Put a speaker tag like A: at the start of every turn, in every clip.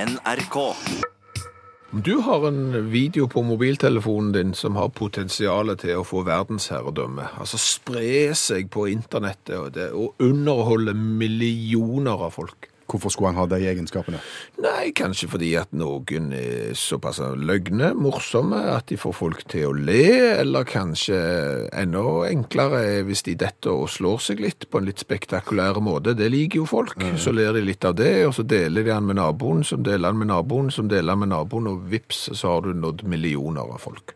A: NRK.
B: Du har en video på mobiltelefonen din som har potensial til å få verdensherredømme. Altså spre seg på internettet og, det, og underholde millioner av folk.
C: Hvorfor skulle han ha de egenskapene?
B: Nei, kanskje fordi at noen er såpass løgne, morsomme, at de får folk til å le, eller kanskje enda enklere er hvis de detter og slår seg litt på en litt spektakulær måte. Det liker jo folk. Så ler de litt av det, og så deler de den med naboen, som deler den med naboen, som deler den med naboen, og vips, så har du nådd millioner av folk.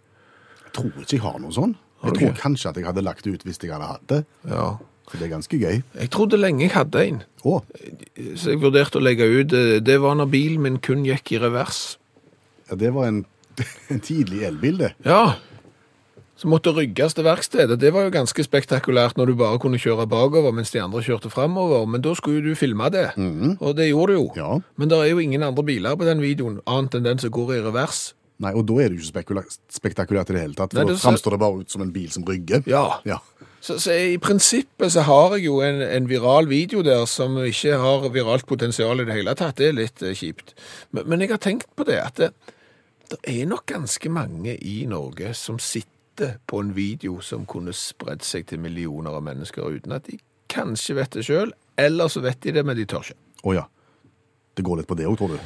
C: Jeg tror ikke jeg har noe sånn.
B: Har du
C: Jeg tror
B: ikke?
C: kanskje at jeg hadde lagt det ut hvis jeg hadde hatt det.
B: Ja.
C: For det er ganske gøy.
B: Jeg trodde lenge jeg hadde en,
C: Å,
B: så jeg vurderte å legge ut. eh, Det var når bilen min kun gikk i revers.
C: ja, det var en, en tidlig elbil, det.
B: Ja. Så måtte rygges til verkstedet. Det var jo ganske spektakulært når du bare kunne kjøre bakover mens de andre kjørte framover, men da skulle jo du filme det. Og det gjorde du jo.
C: Ja.
B: Men det er jo ingen andre biler på den videoen annet enn den som går i revers.
C: Nei, og da er det jo ikke spekula spektakulært i det hele tatt.
B: Nei,
C: For
B: det
C: da
B: ser-
C: framstår det bare ut som en bil som rygger.
B: Ja.
C: Ja.
B: Så, så i prinsippet så har jeg jo en, en viral video der som ikke har viralt potensial i det hele tatt. Det er litt eh, kjipt. Men, men jeg har tenkt på det, at det, det er nok ganske mange i Norge som sitter på en video som kunne spredd seg til millioner av mennesker uten at de kanskje vet det sjøl, eller så vet de det, men de tør ikke.
C: Å ja. Det går litt på det òg, tror du.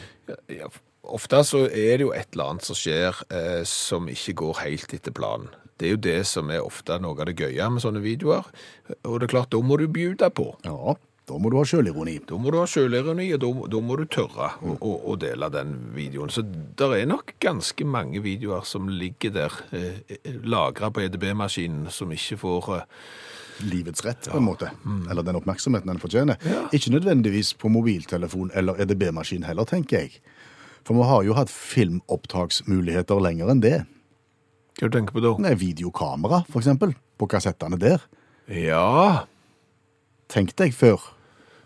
B: Ja, ofte så er det jo et eller annet som skjer eh, som ikke går helt etter planen. Det er jo det som er ofte noe av det gøye med sånne videoer. Og det er klart, da må du bjuda på.
C: Ja. Da må du ha sjølironi.
B: Da må du ha sjølironi, og da, da må du tørre å, å, å dele den videoen. Så det er nok ganske mange videoer som ligger der, eh, lagra på EDB-maskinen, som ikke får eh,
C: Livets rett, på en måte. Eller den oppmerksomheten den fortjener.
B: Ja.
C: Ikke nødvendigvis på mobiltelefon eller EDB-maskin heller, tenker jeg. For vi har jo hatt filmopptaksmuligheter lenger enn det.
B: Hva du tenker på da?
C: Nei, videokamera, for eksempel, på kassettene der.
B: Ja,
C: Tenk deg før,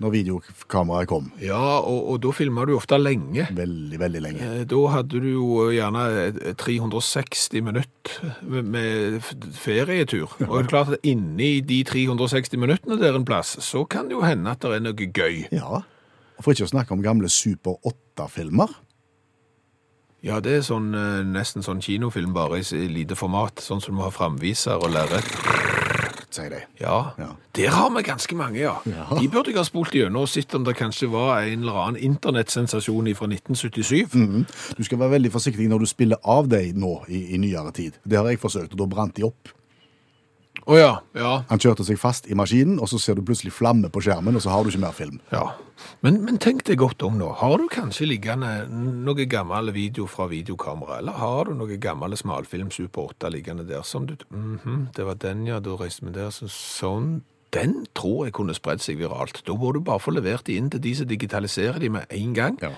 C: når videokameraet kom.
B: ja og, og da filmer du ofte lenge.
C: Veldig, veldig lenge.
B: Eh, Da hadde du jo gjerne eh, 360 minutter med- med f- ferietur. Og det er klart at inni de 360 minuttene der en plass, så kan det jo hende at det er noe gøy.
C: Ja. Og For ikke å snakke om gamle Super 8-filmer.
B: Ja, det er sånn, eh, nesten sånn kinofilm, bare i s- i lite format. Sånn som du har framviser og lerret.
C: sier de.
B: Ja.
C: Ja.
B: Der har vi ganske mange, ja.
C: Ja.
B: De burde jeg ha spolt gjennom og sett om det kanskje var en eller annen internettsensasjon fra 1977.
C: Mm. Du skal være veldig forsiktig når du spiller av deg nå i, i nyere tid. Det har jeg forsøkt, og da brant de opp.
B: Å ja, ja.
C: Han kjørte seg fast i maskinen, og så ser du plutselig flamme på skjermen, og så har du ikke mer film.
B: ja. Men, men tenk deg godt om nå. Har du kanskje liggende noe gammel video fra videokamera, eller har du noe gammel smalfilm Super 8 liggende der som du Mhm, Det var den, ja, da reiste vi der, så sånn. Den tror jeg kunne spredd seg viralt. Da må du bare få levert de inn til de som digitaliserer de med en gang.
C: Ja.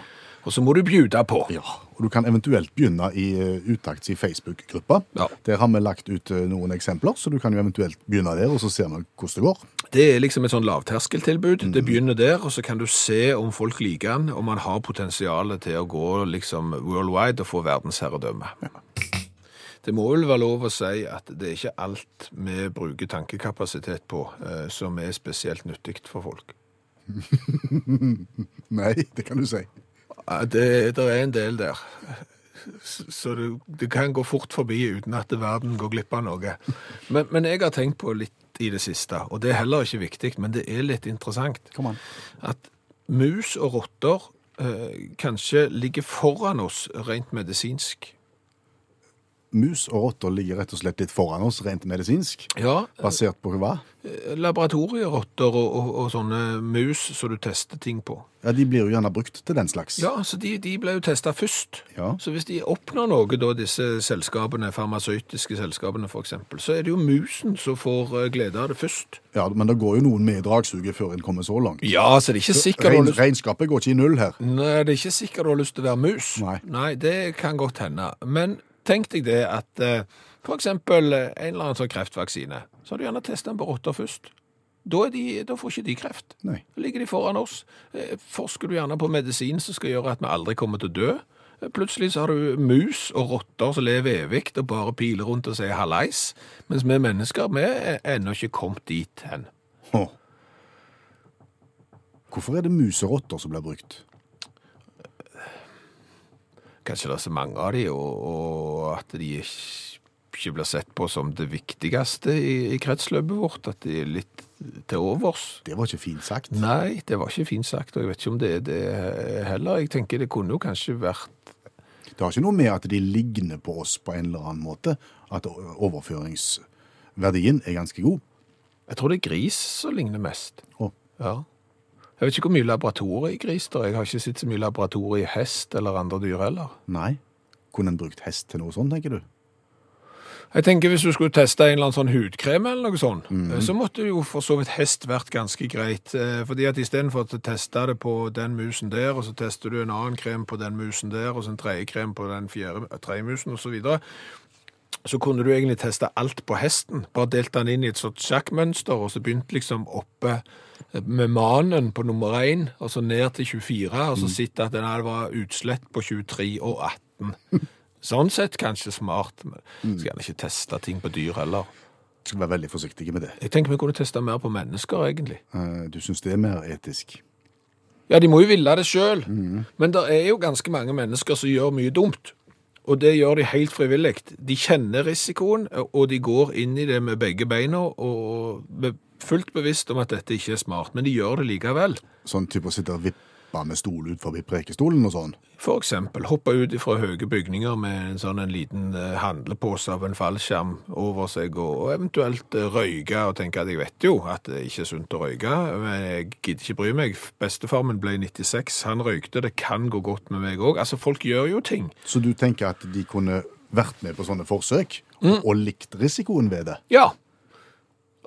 B: Og så må du bjuda på.
C: Ja, og du kan eventuelt begynne i eh, Utakts i Facebook-gruppa.
B: Ja.
C: Der har vi lagt ut eh, noen eksempler, så du kan jo eventuelt begynne der, og så ser vi hvordan det går.
B: Det er liksom et sånn lavterskeltilbud. Det begynner der, og så kan du se om folk liker den, om man har potensialet til å gå liksom worldwide og få verdensherredømme. Det må vel være lov å si at det er ikke alt vi bruker tankekapasitet på eh, som er spesielt nyttig for folk.
C: Nei, det kan du si.
B: Eh, Det, det er en del der. S- Så det, det kan gå fort forbi uten at verden går glipp av noe. Men, men jeg har tenkt på litt i det siste, og det er heller ikke viktig, men det er litt interessant.
C: Kom an.
B: at mus og rotter eh, kanskje ligger foran oss rent medisinsk.
C: Mus og rotter ligger rett og slett litt foran oss, rent medisinsk.
B: Ja,
C: Basert på hva?
B: eh, laboratorierotter og, og, og sånne mus som du tester ting på.
C: Ja, De blir jo gjerne brukt til den slags.
B: Ja, så de, de ble jo testa først.
C: Ja.
B: Så hvis de oppnår noe, da, disse selskapene, farmasøytiske selskapene f.eks., så er det jo musen som får eh, glede av det først.
C: Ja, Men det går jo noen med i dragsuget før en kommer så langt.
B: Ja, så det er ikke sikkert
C: Regn, regnskapet går ikke i null her.
B: Nei, det er ikke sikkert du har lyst til å være mus.
C: Nei.
B: det kan godt hende. Men tenk deg det at eh, for eksempel eh, en eller annen sånn kreftvaksine, så har du gjerne testet den på rotter først. Da, er de, da får ikke de kreft.
C: Nei.
B: Da ligger de foran oss. Eh, Forsker du gjerne på medisin som skal gjøre at vi aldri kommer til å dø? Eh, Plutselig så har du mus og rotter som lever evig og bare piler rundt og sier hallais, mens vi mennesker, vi er ennå ikke kommet dit hen.
C: Hå. Hvorfor er det mus og rotter som blir brukt?
B: kanskje det er så mange av de, og, og at de ikke ikke blir sett på som det viktigste i, i kretsløpet vårt, at de er litt til overs.
C: Det var ikke fint sagt.
B: Nei, det var ikke fint sagt, og jeg vet ikke om det er det heller. Jeg tenker det kunne jo kanskje vært
C: Det har ikke noe med at de ligner på oss på en eller annen måte, at overføringsverdien er ganske god.
B: Jeg tror det er gris som ligner mest.
C: Å.
B: Ja. Jeg vet ikke hvor mye laboratorier i gris der. Jeg har ikke sett så mye laboratorier i hest eller andre dyr heller.
C: Nei. Kunne en brukt hest til noe sånt, tenker du?
B: Jeg tenker Hvis du skulle teste en eller annen sånn hudkrem, eller noe sånt, eh, så måtte jo for så vidt hest vært ganske greit. eh, Fordi at Istedenfor at du tester det på den musen der, og så tester du en annen krem på den musen der, og så en tredje krem på den fjerde, tredje musen osv., så, videre, så kunne du egentlig teste alt på hesten. Bare delt den inn i et sånt sjakkmønster, og så begynt liksom oppe eh, med manen på nummer 1, og så ned til 24, og så sitter at den her var utslett på 23 og 18. Sånn sett kanskje smart, men skal gjerne ikke teste ting på dyr heller.
C: Skal være veldig forsiktige med det.
B: Jeg tenker vi kunne teste mer på mennesker, egentlig.
C: Eh, Du syns det er mer etisk?
B: Ja, de må jo ville det sjøl, men det er jo ganske mange mennesker som gjør mye dumt. Og det gjør de helt frivillig. De kjenner risikoen, og de går inn i det med begge beina og er fullt bevisst om at dette ikke er smart, men de gjør det likevel.
C: Sånn type å sitte og vippe med stol ut forbi prekestolen og sånn?
B: For eksempel hoppe ut fra høye bygninger med en sånn en liten eh, handlepose av en fallskjerm over seg, og, og eventuelt eh, røyke og tenke at jeg vet jo at det ikke er sunt å røyke, men jeg gidder ikke bry meg. Bestefar min ble 96, han røykte, det kan gå godt med meg òg. Altså, folk gjør jo ting.
C: Så du tenker at de kunne vært med på sånne forsøk,
B: Mm.
C: og likt risikoen ved det?
B: Ja.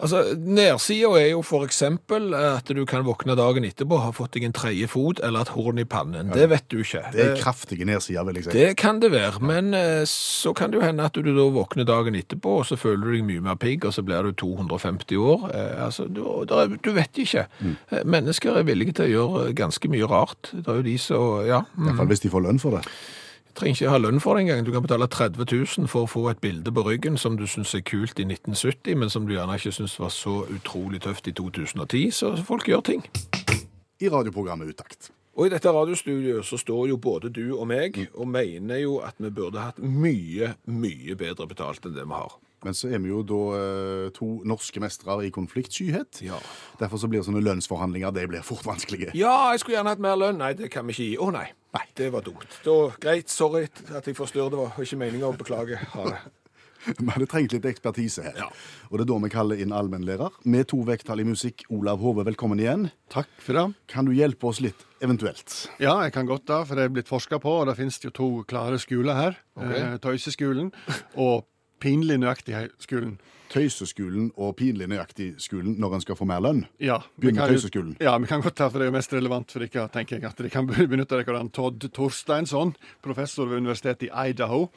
B: Altså, Nedsida er jo for eksempel at du kan våkne dagen etterpå og ha fått deg en tredje fot eller et horn i pannen. Det vet du ikke.
C: Det er
B: Eh,
C: kraftige nedsider, vil jeg si.
B: Det kan det være, men eh, så kan det jo hende at du da våkner dagen etterpå, og så føler du deg mye mer pigg, og så blir du 250 år. Eh, Altså, du, der er- du vet ikke. Eh, Mennesker er villige til å gjøre eh, ganske mye rart. Det er jo de som ja,
C: I
B: mm,
C: hvert fall hvis de får lønn for det.
B: trenger ikke ha lønn for det engang. Du kan betale 30 000 for å få et bilde på ryggen som du syns er kult i 1970, men som du gjerne ikke syns var så utrolig tøft i 2010. Så folk gjør ting.
C: I radioprogrammet Utakt.
B: Og i dette radiostudioet så står jo både du og meg og mener jo at vi burde hatt mye, mye bedre betalt enn det vi har.
C: Men så er vi jo da eh, to norske mestere i konfliktskyhet.
B: Ja.
C: Derfor så blir sånne lønnsforhandlinger det blir fort vanskelige.
B: Ja, jeg skulle gjerne hatt mer lønn. Nei, det kan vi ikke gi. Å nei. Nei, det var dumt. Da, greit, sorry at jeg forstyrret. Det var ikke meninga å beklage. Ha det.
C: Vi hadde trengt litt ekspertise her.
B: Ja.
C: Og det er da vi kaller inn allmennlærer med to vekttall i musikk. Olav Hove, velkommen igjen.
A: Takk for det.
C: Kan du hjelpe oss litt, eventuelt?
A: Ja, jeg kan godt det, for det er blitt forska på, og det finnes jo to klare skoler her. Eh, Tøyseskolen og pinlig nøyaktig-skolen.
C: Tøyseskolen og pinlig nøyaktig-skolen når en skal få mer lønn?
A: Ja, vi
C: Begynn med
A: kan jo-
C: tøyseskolen.
A: Ja, vi kan godt ta, for det er jo mest relevant for dere, tenker jeg, at dere kan benytte dere av den. Todd Torsteinsson, professor ved Universitetet i Idaho,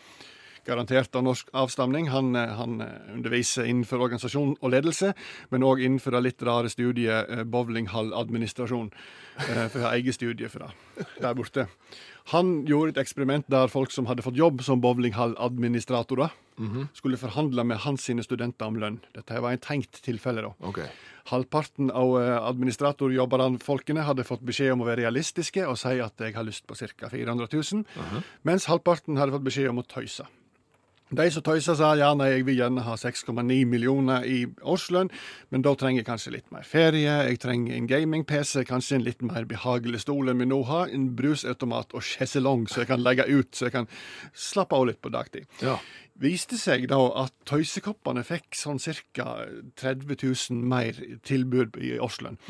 A: garantert av norsk avstamning. Han, eh, han eh, underviser innenfor organisasjon og ledelse, men òg innenfor det litt rare studiet eh, bowlinghalladministrasjon. Eh, For jeg har eget studie for det der borte. Han gjorde et eksperiment der folk som hadde fått jobb som bowlinghalladministratorer, skulle forhandle med hans sine studenter om lønn. Dette var en tenkt tilfelle, da.
B: OK.
A: Halvparten av eh, administratorjobberne folkene hadde fått beskjed om å være realistiske og si at jeg har lyst på ca. 400 000, mens halvparten hadde fått beskjed om å tøyse. De som tøysa, sa ja, nei, jeg vil gjerne ha 6,9 millioner i årslønn, men da trenger jeg kanskje litt mer ferie, jeg trenger en gaming-PC, kanskje en litt mer behagelig stol enn vi nå har, en brusautomat og sjeselong så jeg kan legge ut, så jeg kan slappe av litt på dagtid
B: Ja.
A: viste seg da at tøysekoppene fikk sånn ca. 30 000 mer tilbud i årslønn.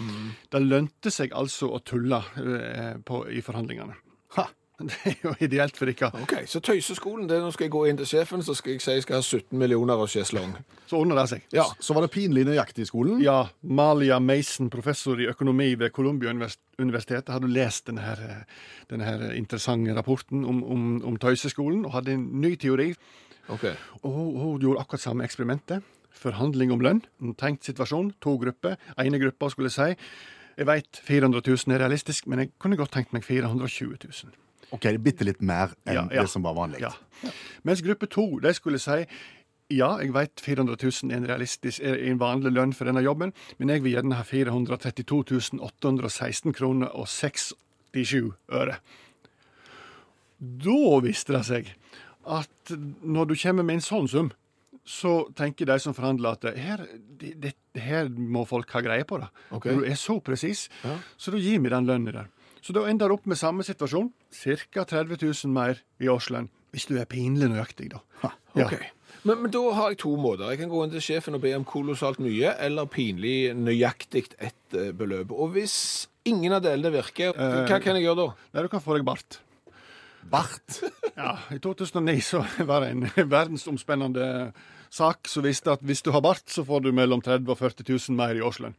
A: Det lønte seg altså å tulle eh, på, i forhandlingene. Ha! Det er jo ideelt for dere.
B: OK, så tøyseskolen, det er nå skal jeg gå inn til sjefen, så skal jeg si jeg skal ha 17 millioner av sjeslong.
A: Så ordner det seg.
B: Ja.
C: Så var det pinlig nøyaktig-skolen.
A: Ja, Malia Mason, professor i økonomi ved Columbia univers- universitetet, hadde lest denne, her, eh, denne her interessante rapporten om, om, om tøyseskolen, og hadde en ny teori.
B: OK.
A: Og hun, hun gjorde akkurat samme eksperimentet. Forhandling om lønn. En tenkt situasjon. To grupper. Ene gruppa skulle si jeg vet 400 000 er realistisk, men jeg kunne godt tenkt meg 420 000.
C: Ok, Bitte litt mer enn
A: Ja, ja.
C: det som var vanlig.
A: Ja. Mens gruppe to de skulle si ja, jeg vet 400 000 er en, realistisk, er en vanlig lønn for denne jobben, men jeg vil gjerne ha 432 816 kroner og 67 øre. Da viste det seg at når du kommer med en sånn sum, så tenker de som forhandler at her, det, det, her må folk ha greie på det.
B: Ok.
A: Når du er så presis,
B: Ja.
A: så da gir vi den lønna der. Så da ender du opp med samme situasjon, ca. 30 000 mer i årslønn. Hvis du er pinlig nøyaktig, da. Ja.
B: Ok. Men, men da har jeg to måter. Jeg kan gå inn til sjefen og be om kolossalt mye, eller pinlig nøyaktig ett eh, beløp. Og hvis ingen av delene virker, hva kan jeg gjøre da?
A: Nei, du kan få deg bart.
C: Bart!
A: Ja, I 2009 så var det en verdensomspennende sak som viste at hvis du har bart, så får du mellom 30 000 og 40 000 mer i årslønn.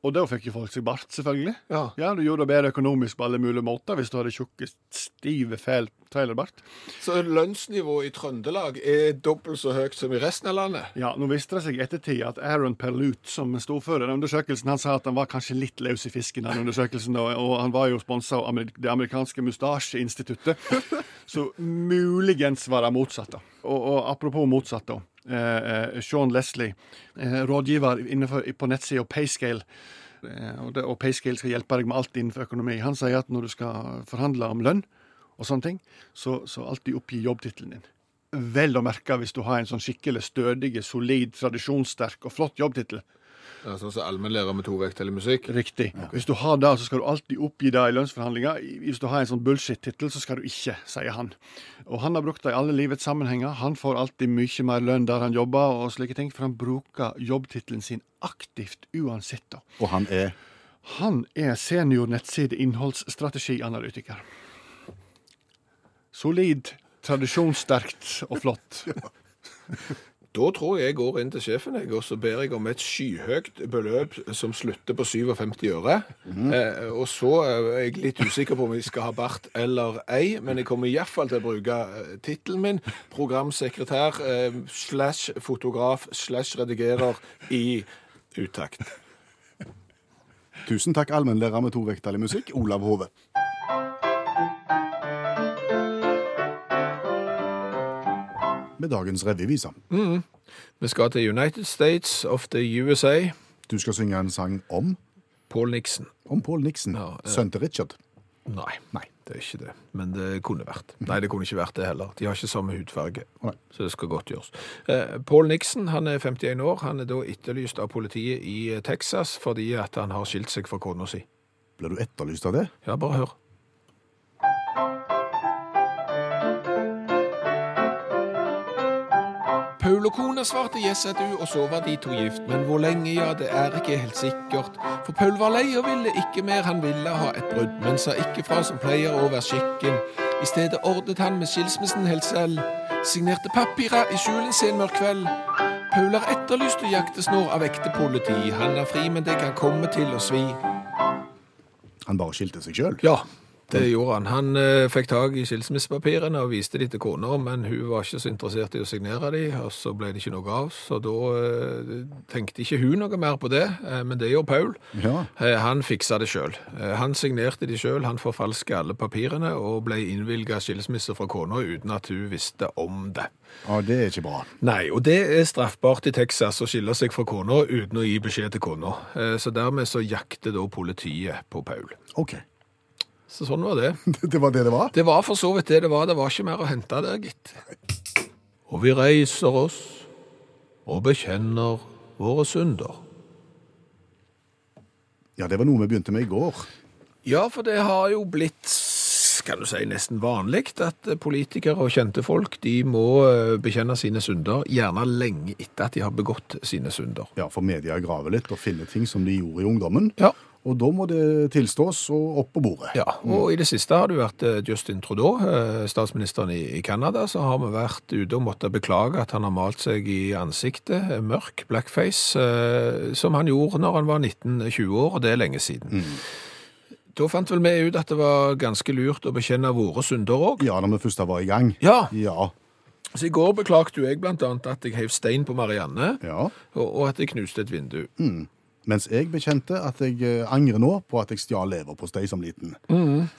A: Og da fikk jo folk seg bart, selvfølgelig.
B: Ja.
A: Ja, du gjorde det bedre økonomisk på alle mulige måter hvis du hadde tjukke, stive, fæl trailerbart.
B: Så lønnsnivået i Trøndelag er dobbelt så høyt som i resten av landet?
A: Ja, nå viste det seg i ettertid at Aaron Perlut, som sto for den undersøkelsen, han sa at han var kanskje litt løs i fisken, den undersøkelsen, og, og han var jo sponsa av amer- det amerikanske mustasjeinstituttet. Så muligens var det motsatt, da. Og, og apropos motsatt, da. Eh, eh, Sean Leslie, eh, rådgiver innenfor, på nettsida Payscale, eh, og, det, og Payscale skal hjelpe deg med alt innenfor økonomi, han sier at når du skal forhandle om lønn og sånne ting, så, så alltid oppgi jobbtittelen din. Vel å merke hvis du har en sånn skikkelig stødig, solid, tradisjonssterk og flott jobbtittel.
B: Ja, sånn som allmennlærer med to vekttall i musikk?
A: Riktig. Hvis du har det, så skal du alltid oppgi det i lønnsforhandlinger. I- Hvis du har en sånn bullshit-tittel, så skal du ikke, sier han. Og han har brukt det i alle livets sammenhenger. Han får alltid mye mer lønn der han jobber og slike ting, for han bruker jobbtittelen sin aktivt uansett, da.
C: Og han er
A: Han er senior nettside-innholdsstrategianalytiker. Solid, tradisjonssterkt og flott.
B: Da tror jeg jeg går inn til sjefen jeg, og så ber jeg om et skyhøyt beløp som slutter på 57 øre. eh, og så er jeg litt usikker på om jeg skal ha bart eller ei, men jeg kommer iallfall til å bruke eh, tittelen min, programsekretær eh, slash fotograf slash redigerer i utakt.
C: Tusen takk, allmennlærer med to vekttall i musikk, Olav Hove. Med dagens revyvise.
B: Vi skal til United States of the USA.
C: Du skal synge en sang om
B: Paul Nixon.
C: om Paul Nixon.
B: Ja, eh.
C: Sønnen til Richard.
B: Nei, det er ikke det. Men det kunne vært. Nei, det kunne ikke vært det heller. De har ikke samme hudfarge,
C: Nei.
B: så det skal godt gjøres. Eh, Paul Nixon han er 51 år. Han er da etterlyst av politiet i Texas fordi at han har skilt seg fra kona si.
C: Ble du etterlyst av det?
B: Ja, bare hør. Paul og kona svarte yes at du, og så var de to gift. Men hvor lenge, ja, det er ikke helt sikkert. For Paul var lei og ville ikke mer, han ville ha et brudd, men sa ikke fra som pleier å være skikken. I stedet ordnet han med skilsmissen helt selv. Signerte papirer i skjulen sen mørk kveld. Paul er etterlyst og jaktes nå av ekte politi. Han er fri, men det kan komme til å svi.
C: Han bare skilte seg sjøl.
B: Ja, det gjorde han. Han eh, fikk tak i skilsmissepapirene og viste de til kona, men hun var ikke så interessert i å signere de, og så ble det ikke noe av. Så da eh, tenkte ikke hun noe mer på det, eh, men det gjorde Paul.
C: Ja.
B: Eh, Han fiksa det sjøl. Han signerte de sjøl, han forfalska alle papirene og ble innvilga skilsmisse fra kona uten at hun visste om det.
C: ja, det er ikke bra.
B: Nei, og det er straffbart i Texas å skille seg fra kona uten å gi beskjed til kona. Eh, Så dermed så jakter da politiet på Paul.
C: OK.
B: Så sånn var det.
C: Det var det det var?
B: Det var for så vidt det det var. Det var ikke mer å hente der, gitt. Og vi reiser oss og bekjenner våre synder.
C: Ja, det var noe vi begynte med i går.
B: Ja, for det har jo blitt kan du si, nesten vanlig at politikere og kjente folk de må eh, bekjenne sine synder, gjerne lenge etter at de har begått sine synder.
C: Ja, for media graver litt og finner ting som de gjorde i ungdommen.
B: Ja.
C: Og da må det tilstås og opp på bordet.
B: Ja, og i det siste har det jo vært eh, Justin Trudeau, eh, statsministeren i i Canada, så har vi vært ute og måttet beklage at han har malt seg i ansiktet, eh, mørk, blackface, eh, som han gjorde når han var 19-20 år, og det er lenge siden. Da fant vel vi ut at det var ganske lurt å bekjenne våre synder òg.
C: Ja, når vi først var i gang.
B: Ja,
C: Ja.
B: så i går beklagte jo jeg blant annet at jeg heiv stein på Marianne,
C: ja.
B: og, og at jeg knuste et vindu.
C: Mens jeg bekjente at jeg eh, angrer nå på at jeg stjal leverpostei som liten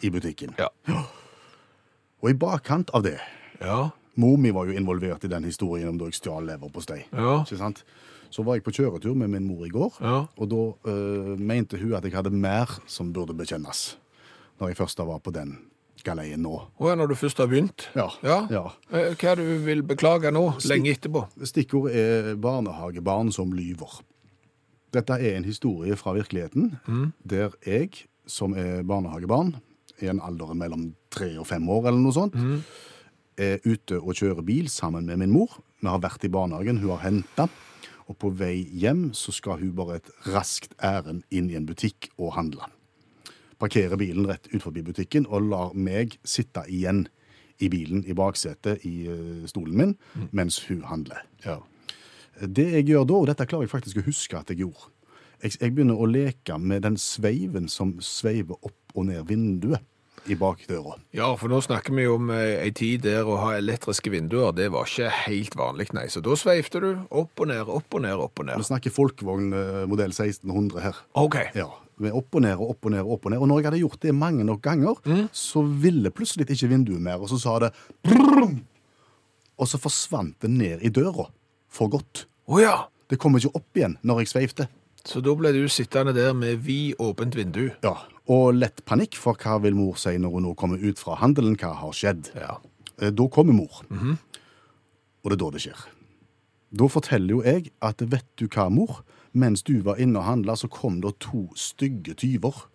C: i butikken.
B: Mm. Ja.
C: Og i bakkant av det
B: Ja,
C: Mor mi var jo involvert i den historien om da jeg stjal leverpostei.
B: Ja.
C: Ikke sant? Så var jeg på kjøretur med min mor i går,
B: Ja.
C: og da eh, mente hun at jeg hadde mer som burde bekjennes. Når jeg først var på den Galeien nå.
B: Å ja, når du først har begynt?
C: Ja.
B: Ja.
C: Ja.
B: Eh, Hva er det du vil beklage nå, lenge etterpå?
C: Stikkord er barnehagebarn som lyver. Dette er en historie fra virkeligheten, der jeg, som er barnehagebarn, i en alder mellom tre og fem år eller noe sånt, er ute og kjører bil sammen med min mor. Vi har vært i barnehagen, hun har henta. Og på vei hjem så skal hun bare et raskt ærend inn i en butikk og handle. Parkerer bilen rett ut forbi butikken og lar meg sitte igjen i bilen i baksetet i eh, stolen min mens hun handler. Det jeg gjør da, og dette klarer jeg faktisk å huske at jeg gjorde, jeg, jeg begynner å leke med den sveiven som sveiver opp og ned vinduet i bakdøra.
B: Ja, for nå snakker vi jo om eh, ei tid der å ha elektriske vinduer, det var ikke helt vanlig, nei. Så da sveifte du opp og ned, opp og ned, opp og
C: Vi
B: ned.
C: snakker folkevogn eh, modell 1600 her.
B: OK.
C: Ja, med opp og ned og opp og ned og opp og ned. Og når jeg hadde gjort det mange nok ganger, så ville plutselig ikke vinduet mer, og så sa det brrrrum, Og så forsvant det ned i døra. For godt.
B: Å ja!
C: Det kom ikke opp igjen når jeg sveivte.
B: Så da ble du sittende der med vidåpent vindu.
C: Ja, og lett panikk, for hva vil mor si når hun nå kommer ut fra handelen? Hva har skjedd?
B: Ja.
C: Eh, Da kommer mor. Og det er da det skjer. Da forteller jo jeg at vet du hva, mor? Mens du var inne og handla, så kom det to stygge tyver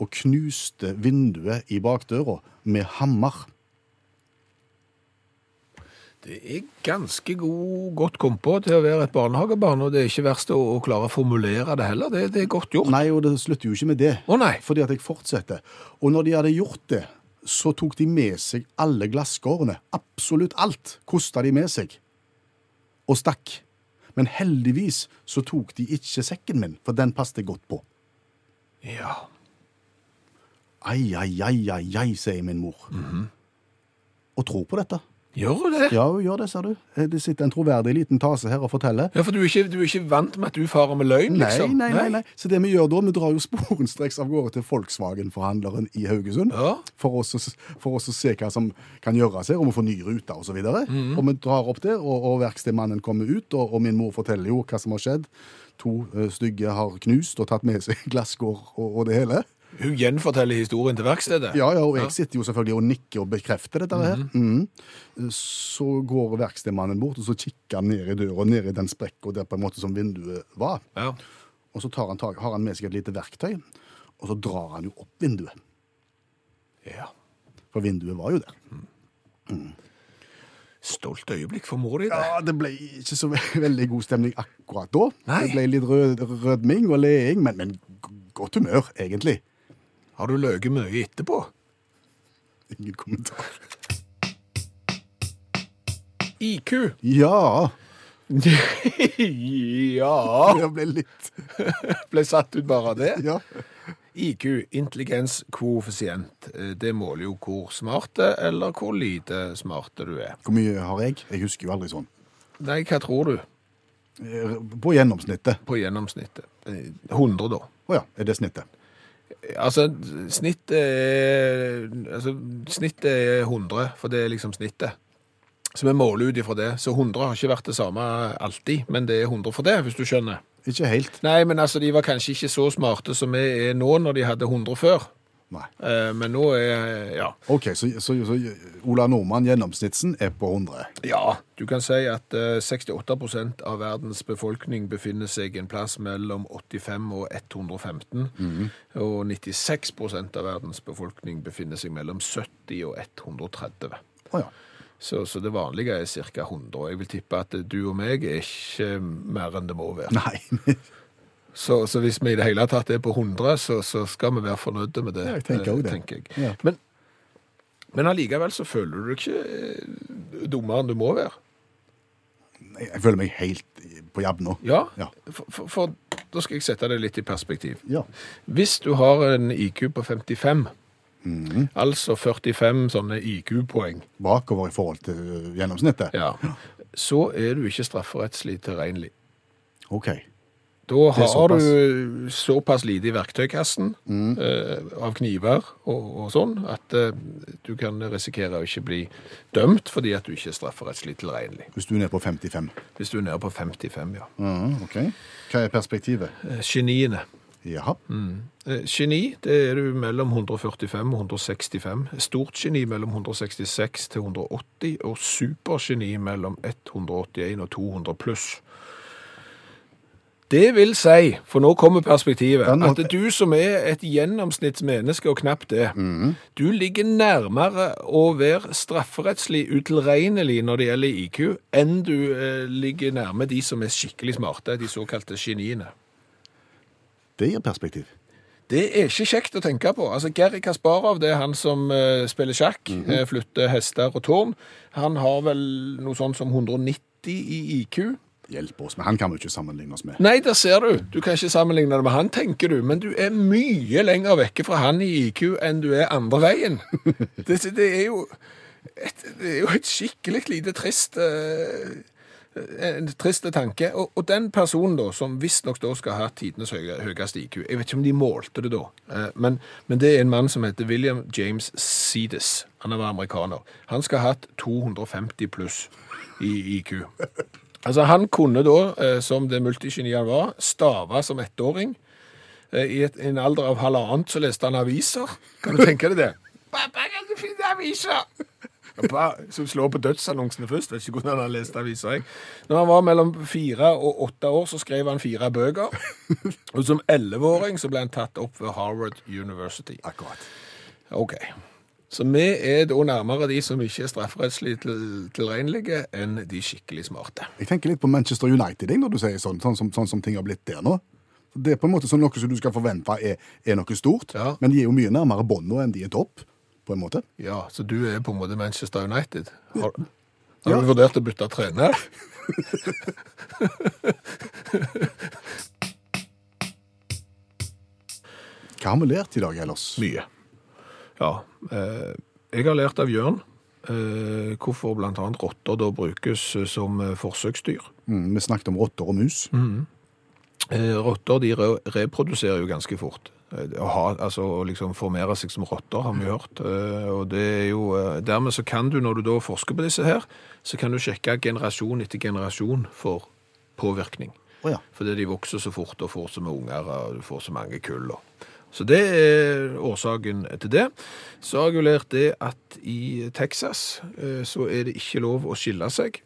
C: og knuste vinduet i bakdøra med hammer.
B: Det er ganske god, godt kom på til å være et barnehagebarn, og det er ikke verst å, å klare å formulere det heller. Det, det er godt gjort.
C: Nei, og det slutter jo ikke med det.
B: Å nei!
C: Fordi at jeg fortsetter. Og når de hadde gjort det, så tok de med seg alle glasskårene. Absolutt alt kosta de med seg. Og stakk. Men heldigvis så tok de ikke sekken min, for den passet jeg godt på.
B: Ja.
C: Ai, ai, ai, ai, ai, sier min mor. Og tror på dette.
B: Gjør du det? Ja.
C: Ja, hun gjør det, sa du. Eh, Det sitter en troverdig liten tase her og forteller.
B: for du er, ikke, du er ikke vant med at du farer med løgn,
C: Nei,
B: liksom?
C: nei, nei, nei. Så det vi gjør da, vi drar jo sporenstreks av gårde til Volkswagen-forhandleren i Haugesund.
B: Ja.
C: for oss, å- for oss å se hva som kan gjøres her, om å få ny rute osv. videre. Og vi drar opp der, og, og verkstedmannen kommer ut, og, og min mor forteller jo hva som har skjedd. To eh, stygge har knust og tatt med seg glasskår og, og det hele.
B: Hun gjenforteller historien til verkstedet.
C: Ja, ja, og jeg sitter jo selvfølgelig og nikker og bekrefter dette her. Mhm. Så går verkstedmannen bort, og så kikker han ned i døra, ned i den sprekka der på en måte som vinduet var.
B: Ja.
C: Og så tar han tak, har han med seg et lite verktøy, og så drar han jo opp vinduet.
B: ja.
C: For vinduet var jo der.
B: Stolt øyeblikk for mor di, det.
C: Ja, det ble ikke så ve veldig god stemning akkurat da.
B: Nei.
C: Det ble litt rød, rødming og leing, men, men g- godt humør, egentlig.
B: Har du løyet mye etterpå?
C: Ingen kommentar.
B: IQ.
C: Ja,
B: ja
C: jeg ble litt
B: Ble satt ut bare av det.
C: Ja,
B: IQ, intelligenskoeffisient, eh, det måler jo hvor smarte eller hvor lite smarte du er.
C: Hvor mye har jeg? Jeg husker jo aldri sånn.
B: Nei, hva tror du
C: Eh, På gjennomsnittet.
B: på gjennomsnittet? Eh, 100, da.
C: Å ja, er det snittet?
B: Altså, snittet er, altså, snittet er 100, for det er liksom snittet. Så vi måler ut ifra det. Så 100 har ikke vært det samme alltid, men det er 100 for det, hvis du skjønner.
C: Ikke helt.
B: Nei, men altså, de var kanskje ikke så smarte som vi er nå, når de hadde 100 før.
C: Nei.
B: Eh, Men nå er Ja.
C: OK, så, så, så Ola Nordmann gjennomsnittsen er på 100.
B: Ja, du kan si at eh, 68 av verdens befolkning befinner seg en plass mellom 85 og 115, og 96 av verdens befolkning befinner seg mellom 70 og 130.
C: Å ja.
B: Så, så det vanlige er ca. 100. Jeg vil tippe at du og meg er ikke mer enn det må være.
C: Nei.
B: Så, så hvis vi i det hele tatt er på 100, så, så skal vi være fornøyde med det.
C: Ja, jeg tenker også det.
B: eh, tenker jeg.
C: Ja.
B: Men, men allikevel så føler du deg ikke eh, dummere enn du må være.
C: Jeg føler meg helt på jabb nå.
B: Ja,
C: Ja.
B: For, for, for da skal jeg sette det litt i perspektiv.
C: Ja.
B: Hvis du har en IQ på 55,
C: Mhm.
B: altså 45 sånne IQ-poeng,
C: Bakover i forhold til ø, gjennomsnittet?
B: ja, så er du ikke strafferettslig tilregnelig.
C: OK.
B: Da
C: er
B: har
C: såpass.
B: du såpass lite i verktøykassen eh, av kniver og, og sånn, at eh, du kan risikere å ikke bli dømt fordi at du ikke er strafferettslig tilregnelig.
C: Hvis du er nede på 55.
B: Hvis du er nede på 55, ja.
C: Mhm, ok. Hva Mm, er perspektivet?
B: Eh, Geniene.
C: Jaha.
B: Eh, Geni, det er du mellom 145 og 165. Stort geni mellom 166 til 180, og supergeni mellom 181 og 200 pluss. Det vil si, for nå kommer perspektivet,
C: Ja, nå-
B: at du som er et gjennomsnittsmenneske, og knapt det,
C: Mm.
B: du ligger nærmere å være strafferettslig utilregnelig når det gjelder IQ, enn du eh, ligger nærme de som er skikkelig smarte, de såkalte geniene.
C: Det gir perspektiv.
B: Det er ikke kjekt å tenke på. Altså, Gary Kasparov det er han som eh, spiller sjakk, eh, flytter hester og tårn. Han har vel noe sånn som 190 i IQ.
C: Hjelp oss, men han kan vi ikke sammenligne oss med.
B: Nei, der ser du. Du kan ikke sammenligne det med han, tenker du, men du er mye lenger vekke fra han i IQ enn du er andre veien. Det, det, er, jo et, det er jo et skikkelig lite trist eh, en trist tanke. Og, og den personen da, som visstnok da skal ha tidenes høye, høyeste IQ Jeg vet ikke om de målte det da, eh, men, men det er en mann som heter William James Seedis. Han er amerikaner. Han skal ha hatt 250 pluss i IQ. Altså, han kunne da, eh, som det multigeniet han var, stave som ettåring. Eh, I et, en alder av halvannet så leste han aviser. Kan du tenke deg det? Pappa, kan du finne aviser? Pappa, som slår på dødsannonsene først. Vet ikke hvordan han har lest aviser. Jeg. Når han var mellom fire og åtte år, så skrev han fire bøker. Og som elleveåring så ble han tatt opp ved Harvard University.
C: Akkurat.
B: Ok. Så vi er da nærmere de som ikke er strafferettslig til, tilregnelige, enn de skikkelig smarte.
C: Jeg tenker litt på Manchester United jeg, når du sier sånn, sånn, som- sånn som ting har blitt der nå. Det er på en måte sånn noe som du skal forvente er, er noe stort,
B: Ja.
C: men de er jo mye nærmere bånd nå enn de er topp, på en måte.
B: Ja, så du er på en måte Manchester United. Har, har
C: Ja.
B: du vurdert å bytte trener?
C: Hva har vi lært i dag ellers?
B: Mye. Ja. Eh, jeg har lært av Jørn eh, hvorfor blant annet rotter da brukes eh, som eh, forsøksdyr.
C: Mm, vi snakket om rotter og mus.
B: Eh, rotter de re reproduserer jo ganske fort. Eh, Å ha, altså, å liksom formere seg som rotter, har vi hørt. Eh, og det er jo, eh, dermed så kan du, når du da forsker på disse her, så kan du sjekke generasjon etter generasjon for påvirkning.
C: Å ja.
B: Fordi de vokser så fort og får så mange unger og du får så mange kull. og- Så det er årsaken til det. Så har jeg jo lært det at i Texas eh, så er det ikke lov å skille seg.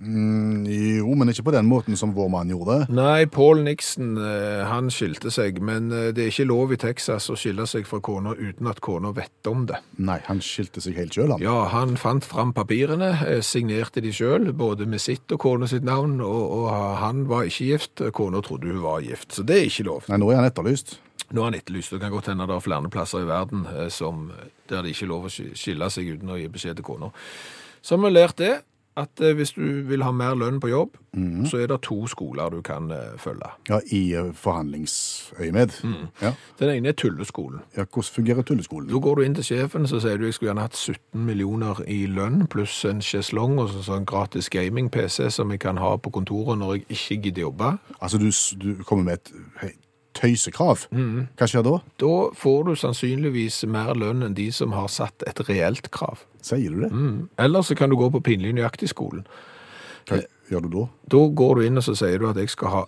C: Mm, jo, men ikke på den måten som vår mann gjorde.
B: Nei, Paul Nixon eh, han skilte seg, men eh, det er ikke lov i Texas å skille seg fra kona uten at kona vet om det.
C: Nei, han skilte seg helt sjøl, han.
B: Ja, han fant fram papirene, eh, signerte de sjøl, både med sitt og kona sitt navn, og, og han var ikke gift, kona trodde hun var gift, så det er ikke lov.
C: Nei, nå er han etterlyst.
B: Nå er han etterlyst. Det kan godt hende det er flere plasser i verden eh, som, der det ikke er lov å sk- skille seg uten å gi beskjed til kona. Så har vi lært det, at eh, hvis du vil ha mer lønn på jobb, så er det to skoler du kan eh, følge.
C: Ja, I eh, forhandlingsøyemed.
B: Mm.
C: Ja.
B: Den ene er tulleskolen.
C: ja, Hvordan fungerer tulleskolen?
B: Da går du inn til sjefen så sier du jeg skulle gjerne hatt 17 millioner i lønn pluss en sjeslong og så- sånn gratis gaming-PC som jeg kan ha på kontoret når jeg ikke gidder jobbe.
C: Altså, du, s- du kommer med et hei, tøysekrav.
B: Mm.
C: Hva skjer da?
B: Da får du sannsynligvis mer lønn enn de som har satt et reelt krav.
C: Sier du det?
B: Mm. Eller så kan du gå på pinlig nøyaktig-skolen.
C: Hva gjør du da?
B: Da går du inn og så sier du at jeg skal ha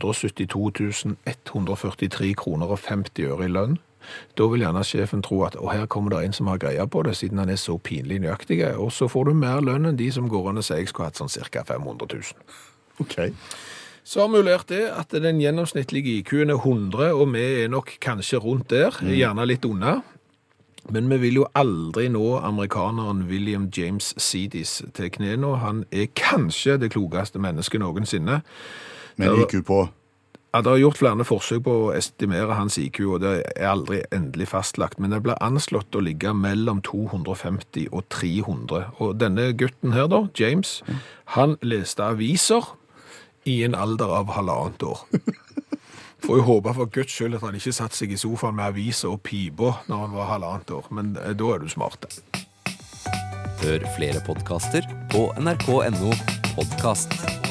B: 572 143 kroner og 50 øre i lønn. Da vil gjerne sjefen tro at å, her kommer det en som har greia på det, siden han er så pinlig nøyaktig. Og så får du mer lønn enn de som går inn og sier jeg skulle hatt sånn ca. 500 000.
C: OK.
B: Så har vi jo lært det at den gjennomsnittlige IQ-en er 100, og vi er nok kanskje rundt der, gjerne litt unna. Men vi vil jo aldri nå amerikaneren William James Seedis til knena. Han er kanskje det klokeste mennesket noensinne.
C: Men
B: Ja, da-
C: IQ på
B: Ja, Det er gjort flere forsøk på å estimere hans IQ, og det er aldri endelig fastlagt, men det ble anslått å ligge mellom 250 og 300. Og denne gutten her, da, James, han leste aviser i en alder av halvannet år. Får jo håpe for guds skyld at han ikke satt seg i sofaen med aviser og pipa når han var halvannet år, men eh, da er du smart.
D: Hør flere podkaster på nrk.no podkast.